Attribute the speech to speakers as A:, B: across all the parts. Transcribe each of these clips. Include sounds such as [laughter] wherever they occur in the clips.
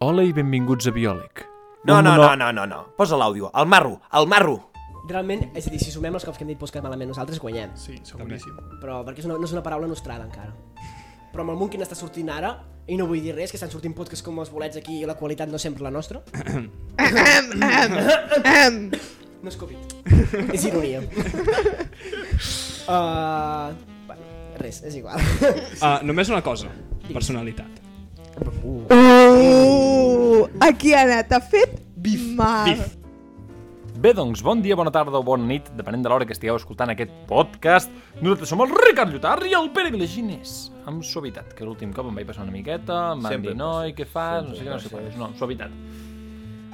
A: Hola i benvinguts a Biòleg.
B: No,
A: Un
B: no,
A: mono-
B: no, no, no, no. Posa l'àudio. El marro, el marro.
C: Realment, és a dir, si sumem els cops que hem dit poscat malament nosaltres, guanyem.
D: Sí, seguríssim.
C: Però perquè és una, no és una paraula nostrada encara. Però amb el Munkin està sortint ara, i no vull dir res, que estan sortint podcasts com els bolets aquí i la qualitat no sempre la nostra. no és Covid. és ironia. uh, bueno, res, és igual.
D: Ah, només una cosa, personalitat.
E: Uh, aquí ha anat, ha fet mal.
D: Bif.
A: Bé, doncs, bon dia, bona tarda o bona nit, depenent de l'hora que estigueu escoltant aquest podcast. Nosaltres som el Ricard Llotar i el Pere Vilaginés. Amb suavitat, que l'últim cop em vaig passar una miqueta, em van
B: Sempre
A: dir,
B: et
A: no,
B: passes.
A: i què fas? No sé
B: Sempre
A: què, no sé
B: et
A: què.
B: passes.
A: No, suavitat.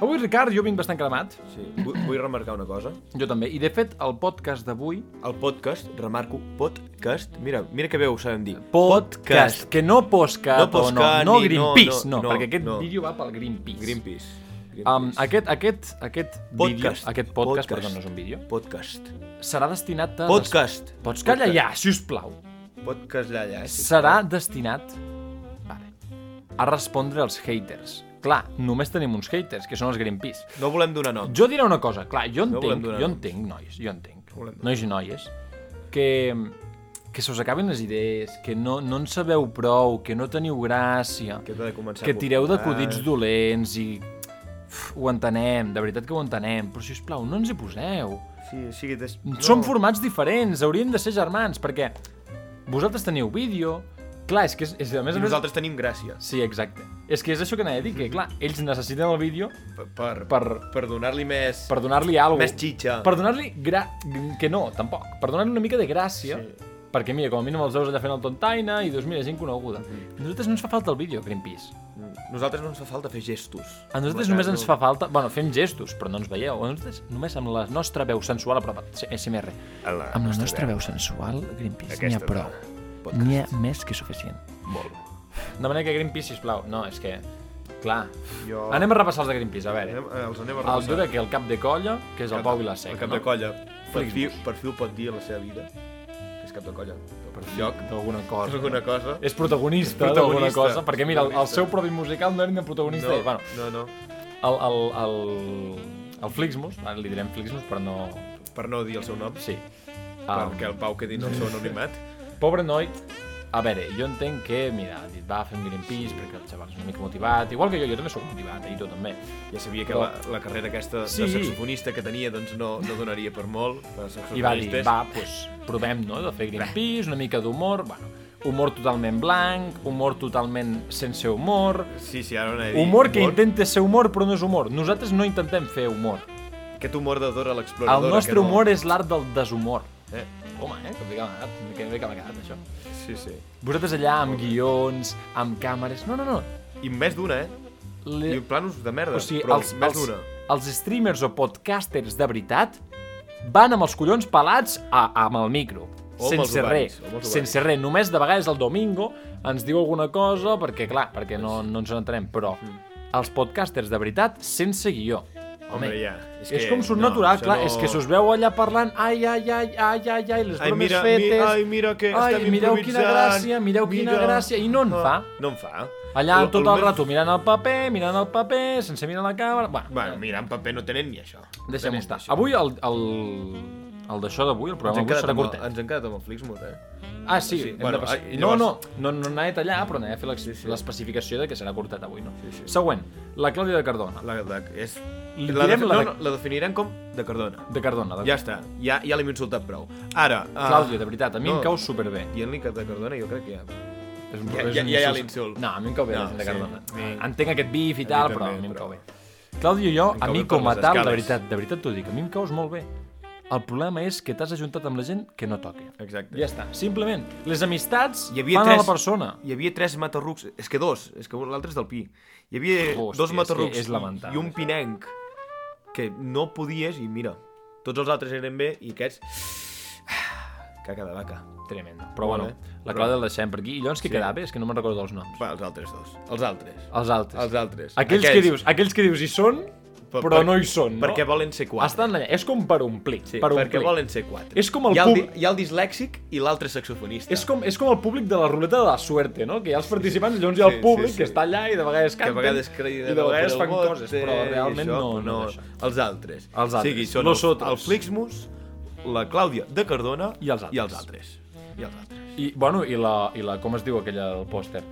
A: Avui, Ricard, jo vinc bastant cremat.
B: Sí, vull, vull remarcar una cosa.
A: Jo també. I, de fet, el podcast d'avui...
B: El podcast, remarco, podcast. Mira, mira que bé ho sabem dir.
A: Que no postcat
B: No postcat
A: o no. No
B: ni no-
A: Greenpeace, no,
B: no,
A: perquè aquest
B: no.
A: vídeo va pel Greenpeace.
B: Greenpeace. Greenpeace.
A: Um, aquest, aquest, aquest vídeo,
B: Podcast.
A: aquest podcast,
B: Podcast.
A: perdó, no és un vídeo,
B: Podcast.
A: serà destinat a...
B: Podcast.
A: Pots callar ja, si us plau.
B: Podcast d'allà. Eh? Sí.
A: Serà destinat vale, a respondre als haters. Clar, només tenim uns haters, que són els Greenpeace.
B: No volem donar nom.
A: Jo diré una cosa, clar, jo
B: No volem
A: entenc,
B: donar
A: jo
B: nom.
A: entenc, nois, jo entenc,
B: volem donar
A: nois i noies, que, que se us acaben les idees, que no, no en sabeu prou, que no teniu gràcia,
B: Que t'ha de començar
A: que
B: a
A: tireu
B: buscar.
A: d'acudits dolents i uf, ho entenem, de veritat que ho entenem, però si us plau, no ens hi poseu.
B: Sí, sí, que t'es...
A: No. Som formats diferents, hauríem de ser germans, perquè vosaltres teniu vídeo, clar, és que és, és a més
B: I
A: a més...
B: nosaltres tenim gràcia.
A: Sí, exacte. És que és això que anava a dir, que clar, ells necessiten el vídeo
B: Per, per, per,
A: per,
B: per donar-li més...
A: per donar-li alguna
B: Més xitxa.
A: Per donar-li... Gra... Que no, tampoc. Per donar-li una mica de gràcia. Sí. Perquè, mira, com a mínim els veus allà fent el tontaina i dius, mira, gent coneguda.
B: Mhm.
A: A nosaltres no ens fa falta el vídeo, Greenpeace.
B: Nosaltres no ens fa falta fer gestos.
A: A nosaltres
B: Amb la
A: només
B: cara,
A: ens fa falta... Bueno, fem gestos, però no ens veieu. A nosaltres només amb la nostra veu sensual, a prova, SMR.
B: la
A: amb la nostra veu sensual, Greenpeace, n'hi ha
B: Aquesta
A: prou.
B: Podcast.
A: N'hi ha més que suficient.
B: Molt.
A: De manera que Greenpeace, sisplau, no, és que... Clar.
B: Jo-
A: Anem a repassar els de Greenpeace, a veure.
B: Anem, eh, els anem a
A: El
B: repassar.
A: jo crec que el cap de colla, que és el Pau Vilasec,
B: El cap
A: no?
B: de colla. Per
A: Felix
B: fi,
A: Bosch.
B: per fi ho pot dir a la seva vida. Que és cap de colla. Per lloc.
A: D'alguna
B: [laughs]
A: cosa.
B: És alguna cosa.
A: és protagonista,
B: És
A: d'alguna
B: protagonista.
A: cosa, perquè mira, el, el
B: Protagonista.
A: seu propi musical no era ni el protagonista, no. i bueno,
B: no, no.
A: el, el, el, el Flixmus, ara li direm Flixmus, però no...
B: Per no dir el seu nom.
A: Sí. Um,
B: Perquè el Pau quedi en el seu anonimat.
A: Pobre noi, a veure, jo entenc que, mira, ha dit, va, fem Greenpeace, perquè el xaval és una mica motivat, igual que jo, jo també sóc motivat, eh, i tu també.
B: Ja sabia que la, la carrera aquesta
A: Sí.
B: de saxofonista que tenia doncs no, no donaria per molt. Per
A: I va dir, va, pues, provem, no?, de fer Greenpeace, una mica d'humor, bueno, humor totalment blanc, humor totalment sense humor,
B: Sí, sí, ara no he dit.
A: humor que intenta ser humor però no és humor. Nosaltres no intentem fer humor.
B: Aquest humor de Dora l'exploradora.
A: El nostre humor és l'art del deshumor.
B: Eh?
A: Home, eh? Que bé que m'ha quedat, que bé que m'ha quedat, això.
B: Sí, sí.
A: Vosaltres allà amb guions, amb càmeres... No, no, no.
B: I més d'una, eh?
A: Le...
B: I planos de merda.
A: O sigui,
B: però
A: els,
B: més
A: els,
B: d'una.
A: els streamers o podcasters de veritat van amb els collons pelats a, amb el micro.
B: O amb els
A: sense
B: ovaris,
A: res,
B: o amb els
A: sense res. Només de vegades el domingo ens diu alguna cosa, perquè clar, perquè no, no ens n'entenem, però
B: Mm.
A: els podcasters de veritat sense guió.
B: Home, ja.
A: És, que, és com surt no, natural,
B: això
A: clar, no... és que se us veu allà parlant ai, ai, ai, ai, ai, ai, les
B: Ai,
A: bromes
B: mira,
A: fetes...
B: mi, ai, mira que
A: ai,
B: estem
A: mireu quina
B: improvisant. Ah.
A: gràcia, mireu quina gràcia, i no en fa.
B: No en fa.
A: Allà
B: Lo-
A: tot
B: lo
A: el
B: més-
A: rato mirant el paper, mirant el paper, sense mirar la càmera... Bueno,
B: Bueno, mira, en paper no tenen ni això.
A: deixem-ho
B: Tenen
A: estar.
B: ni això.
A: Avui el, el, el d'això d'avui, el
B: ens
A: programa d'avui
B: hem, quedat
A: serà
B: amb,
A: curtet.
B: ens hem quedat amb el Flixmut, eh?
A: Ah, sí,
B: sí,
A: hem
B: bueno,
A: de passar.
B: ai,
A: no,
B: llavors-
A: no, no, no anava a tallar, però anava a fer l'ex-
B: Sí, sí.
A: l'especificació de que serà curtet avui, no?
B: Sí, sí.
A: Següent, la Clàudia de Cardona.
B: La, la, és...
A: Li
B: La,
A: direm
B: defi-
A: la
B: no,
A: de-
B: no, la definiran com de Cardona.
A: De Cardona, de...
B: Ja està, ja, ja l'hem insultat prou. Ara... Uh,
A: Clàudia, de veritat, a mi
B: no.
A: em cau superbé.
B: Dient-li que de Cardona jo crec que ja...
A: És un,
B: Ja-
A: és
B: ja-
A: un
B: ja hi ha
A: insult.
B: l'insult.
A: No, a mi em cau bé
B: No,
A: la gent de
B: sí.
A: Cardona.
B: Mi-
A: Entenc aquest bif i
B: mi
A: tal,
B: també,
A: però a mi em
B: però-
A: cau bé. Claudio, jo,
B: Em
A: a
B: cau
A: mi
B: bé per
A: com a
B: les
A: tal, de
B: escales.
A: veritat, de veritat t'ho dic, a mi em caus molt bé. El problema és que t'has ajuntat amb la gent que no toca.
B: Exacte.
A: Ja està. Simplement, les amistats
B: Hi havia
A: fan a
B: tres-
A: la persona.
B: Hi havia tres matarrucs, és que dos, és que l'altre és del Pi. Hi havia
A: Hòstia, és
B: dos
A: que
B: matarrucs
A: és lamentable,
B: i un
A: això.
B: pinenc que no podies i mira, tots els altres eren bé i aquests... [sighs] Caca de vaca.
A: Tremendo. Però
B: Molt
A: bueno,
B: bé.
A: la Clàudia la deixem per aquí. I llavors què quedava? És que no me'n recordo els noms.
B: Va, els altres dos. Els altres.
A: Els altres.
B: Els altres.
A: Aquells que dius, aquells que dius hi són, però no hi són, no?
B: Perquè volen ser quatre.
A: Estan allà, és com per omplir.
B: Sí,
A: per
B: perquè
A: omplir.
B: volen ser quatre.
A: És com el
B: hi ha el,
A: pub-
B: di- hi ha el dislèxic i l'altre saxofonista.
A: És com, és com el públic de la ruleta de la suerte, no? Que hi ha els participants, llavors hi ha el
B: Sí, sí,
A: públic
B: sí.
A: que està allà i de vegades
B: que a
A: canten
B: vegades
A: i
B: criden
A: de vegades
B: per
A: fan
B: el
A: coses, però
B: bote i
A: realment
B: això,
A: no,
B: però
A: no, no.
B: Els altres.
A: Els altres.
B: sigui, són
A: Los
B: el,
A: otros.
B: el Flixmus, la Clàudia de Cardona
A: I els altres.
B: I els altres. I els altres.
A: I, bueno, i la, i la, com es diu aquella del pòster?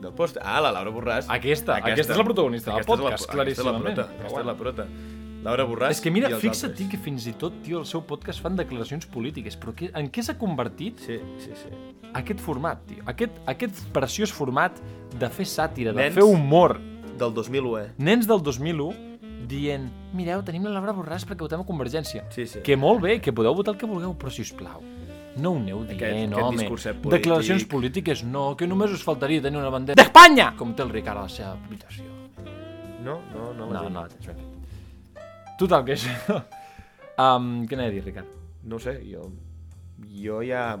B: Del post... Ah, la Laura Borràs.
A: Aquesta, aquesta és la protagonista del
B: Aquesta és la-
A: podcast, claríssimament.
B: Aquesta és la prota.
A: Però
B: Aquesta és
A: bueno.
B: la prota. Laura Borràs
A: És que mira,
B: i els
A: fixa't
B: altres.
A: que fins i tot, tio, el seu podcast fan declaracions polítiques, però què, en què s'ha convertit
B: Sí, sí, sí.
A: aquest format, tio? Aquest, aquest preciós format de fer sàtira, de
B: Nens.
A: fer humor.
B: Del 2001, eh?
A: Nens del 2001 dient, mireu, tenim la Laura Borràs perquè votem a Convergència.
B: Sí, sí.
A: Que molt bé, que podeu votar el que vulgueu, però si us plau, no ho aneu dient,
B: Aquest- aquest
A: home.
B: discurset polític.
A: Declaracions polítiques no, que només us faltaria tenir una bandera d'Espanya, com té el Ricard a la seva habitació.
B: No, no, no. la
A: No,
B: tinc.
A: no, tens ben fet. Total, que això... [laughs] Um, què anava a dir, Ricard?
B: No ho sé, jo... Jo ja...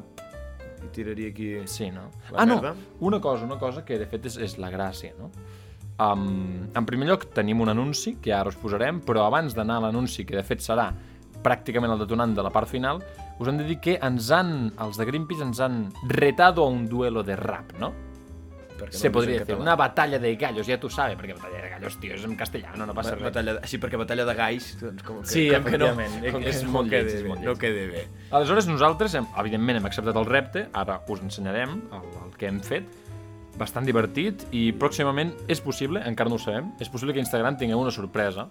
B: hi tiraria aquí...
A: Sí, no?
B: La
A: ah,
B: merda.
A: no, una cosa, una cosa que de fet és, és la gràcia, no? Um, en primer lloc tenim un anunci que ara us posarem, però abans d'anar a l'anunci, que de fet serà pràcticament el detonant de la part final, us hem de dir que ens han, els de Greenpeace ens han retado a un duelo de rap, no?
B: Perquè
A: Se
B: no
A: podria
B: en
A: decir,
B: català.
A: una batalla de gallos, ja tu sabes, perquè batalla de gallos, tio, és en castellà, no, no passa
B: Ba-
A: res.
B: batalla, de- sí, perquè batalla de gais, doncs com que,
A: Sí,
B: com que no,
A: efectivament,
B: com que
A: és
B: no
A: molt
B: queda
A: lleig, és
B: bé,
A: molt
B: no
A: lleig.
B: queda bé.
A: Aleshores, nosaltres, hem, evidentment, hem acceptat el repte, ara us ensenyarem el, el que hem fet, bastant divertit, i pròximament és possible, encara no ho sabem, és possible que Instagram tingueu una sorpresa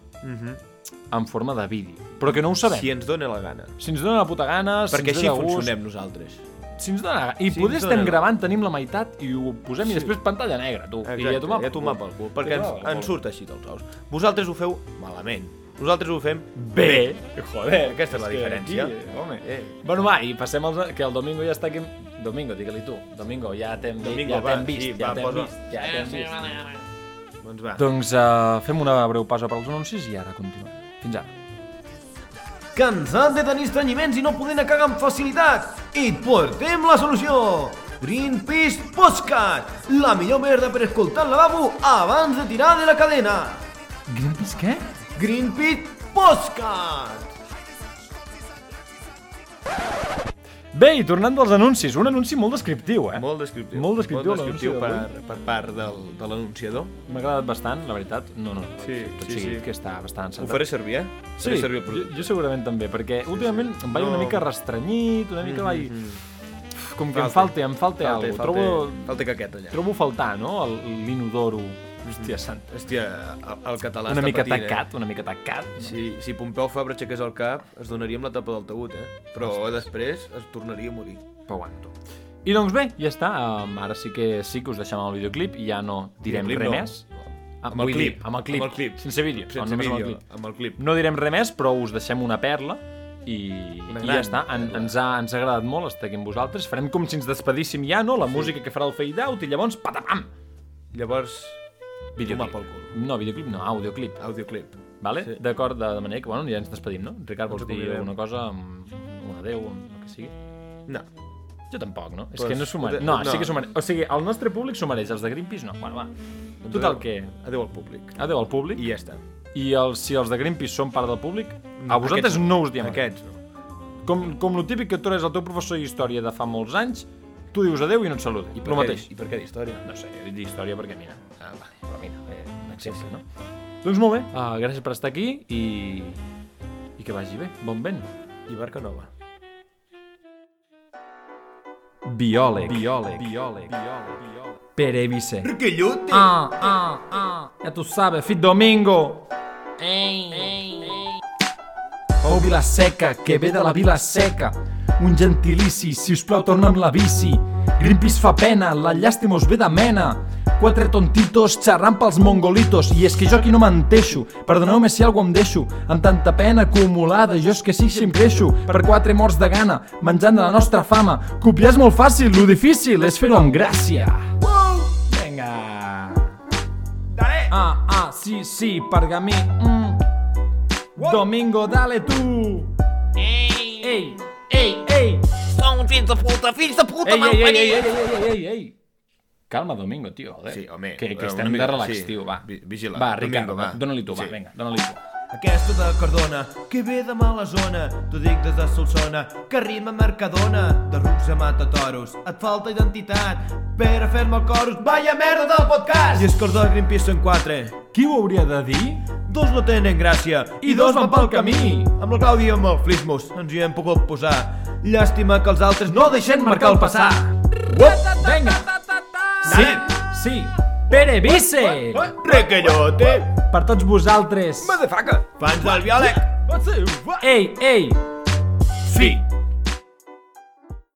A: en forma de vídeo, però que no ho sabem.
B: Mhm. Si
A: Si,
B: ens dóna la gana.
A: si ens dona la puta gana, si
B: Perquè
A: ens
B: així
A: dona gust...
B: funcionem nosaltres.
A: Si ens dona... I
B: Si
A: poder
B: ens dona
A: estem
B: la-
A: gravant, tenim la meitat, i ho posem, i
B: Sí.
A: després pantalla negra, tu. I ja
B: ja
A: t'ho
B: tomar pel cul, perquè
A: Ja
B: ens,
A: tomar pel
B: ens
A: cul.
B: surt així dels ous. Vosaltres ho feu malament. Nosaltres ho fem
A: Bé,
B: bé.
A: joder,
B: Aquesta és la
A: que
B: diferència.
A: aquí, eh, home.
B: Eh.
A: Bueno, va, i passem als... que el Domingo ja està aquí... amb- Domingo, digue-li tu. Domingo, ja t'hem vist,
B: Domingo,
A: ja
B: va,
A: t'hem vist,
B: sí,
A: ja
B: va,
A: t'hem
B: posa-
A: vist, ja t'hem vist.
B: Doncs va.
A: Doncs uh, fem una breu pausa per als anuncis i ara continuem. Fins ara.
B: Cansat de tenir estranyiments i no podent a cagar amb facilitat? Et portem la solució! Greenpeace Postcat, la millor merda per escoltar el lavabo abans de tirar de la cadena.
A: Greenpeace què?
B: Greenpeace Postcat!
A: Bé, i tornant dels anuncis, un anunci molt descriptiu, eh?
B: Molt descriptiu.
A: Molt descriptiu, eh?
B: Molt descriptiu
A: l'anunci d'avui.
B: per, per part del, de l'anunciador.
A: M'ha agradat bastant, la veritat. No, no, no.
B: Sí,
A: tot
B: sí,
A: seguit,
B: sí.
A: que està bastant
B: Ho
A: encertat.
B: faré servir, eh?
A: Sí,
B: Faré servir el
A: jo,
B: producte.
A: jo segurament també, perquè sí, últimament sí. em vaig no. una
B: No. Mm-hmm.
A: mica restrenyit, una mica vaig... Com que em falta,
B: Falta.
A: em falta, falta alguna cosa. Trobo,
B: Falta caquet allà.
A: Trobo a faltar, no?, el- l'inodoro.
B: Mm-hmm.
A: Hòstia santa.
B: Hòstia, el, el català
A: Una
B: està
A: mica
B: patint,
A: tacat, una mica tacat.
B: Eh? Si, si Pompeu Fabra aixequés el cap, es donaria amb la tapa del taüt, eh? Però després es tornaria a morir.
A: Però aguanto. I doncs bé, ja està. Um, ara sí que sí que us deixem el videoclip i ja no direm res
B: Videoclip no.
A: més. Ah,
B: Amb el
A: vull
B: clip.
A: Dir, amb el clip.
B: Amb el clip.
A: Sense vídeo. no,
B: Sense
A: només amb el
B: vídeo,
A: clip.
B: amb el clip.
A: No direm res més, però us deixem una perla i,
B: Una
A: i
B: gran
A: ja està, en,
B: perla.
A: ens, ha, ens ha agradat molt estar aquí amb vosaltres farem com si ens despedíssim ja, no? la música que farà el fade out i llavors patapam
B: Llavors,
A: videoclip,
B: pel cul.
A: no, videoclip no, audioclip
B: audioclip.
A: Vale? Sí.
B: Sí.
A: D'acord, de, de manera que, bueno, ja ens despedim, no? Ricard,
B: Ens
A: vols dir
B: acomiadem.
A: alguna cosa? amb Un adeu, amb el que sigui?
B: No.
A: Jo tampoc, no? És
B: Pues,
A: que no sumaré.
B: adeu-
A: No,
B: no.
A: sí que sumaré. O sigui, el nostre públic sumareix, els de Greenpeace no. Bueno, va. Total,
B: adeu.
A: que...
B: Doncs Adéu al públic.
A: Adeu al públic.
B: I ja està.
A: I els, si els de Greenpeace són part del públic, a vosaltres
B: Aquests
A: no us diem adeu.
B: Aquests no.
A: Com, com lo típic que tu eres el teu professor d'història de fa molts anys, tu dius adeu i no et saluda. I el
B: per què
A: mateix.
B: di- I per què d'història?
A: No sé, he dit història perquè mira.
B: Ah, vale.
A: Però mira, eh, un exemple, no? Doncs molt bé, uh, gràcies per estar aquí i... i que vagi bé. Bon vent.
B: I barca nova.
A: Biòleg. Biòleg. Biòleg. Pere Vice.
B: Que lluti!
A: Ah, ah, ah. Ja tu sabe, fit domingo. Ei, ei, ei. Oh, vila seca, que ve de la vila seca. Un gentilici, si us plau, torna amb la bici. Greenpeace fa pena, la llàstima us ve de mena. Quatre tontitos xerrant pels mongolitos i és que jo aquí no menteixo, perdoneu-me si algú em deixo amb tanta pena acumulada jo és que sí que si em creixo per quatre morts de gana menjant de la nostra fama copiar és molt fàcil, lo difícil és fer-ho amb gràcia Venga. Dale. Ah, ah, sí, sí, pergamí. Mm. Domingo, dale tu.
F: Ei,
A: Ei, ei, ei.
F: som fills de puta, fills de puta,
A: Ei,
F: mal
A: ei, ei, ei,
F: parit.
A: ei, ei, ei, ei, ei. Calma, Domingo, tio. Joder.
B: Sí, home,
A: Que, que
B: eh,
A: estem de
B: una mica,
A: relax,
B: sí.
A: tio, va.
B: Vi- vigila.
A: Va, Ricardo,
B: Domingo, va.
A: dóna-li tu, va,
B: Sí.
A: vinga, dóna-li tu.
G: Aquesta de Cardona, que ve de mala zona, t'ho dic des de Solsona, que rima Mercadona, de rucs a matatoros, et falta identitat, per a fer-me el coros, vaya merda del podcast! I és que els del Greenpeace són quatre,
A: Qui ho hauria de dir?
G: dos no tenen gràcia i dos van pel camí. Amb la Clàudia i amb el Flismos ens hi hem pogut posar. Llàstima que els altres no deixem marcar el passar.
A: Uop, venga! Sí, sí, Pere Vice!
G: Requellote,
A: Per tots vosaltres!
G: fans del biòleg.
A: Ei, ei! Sí!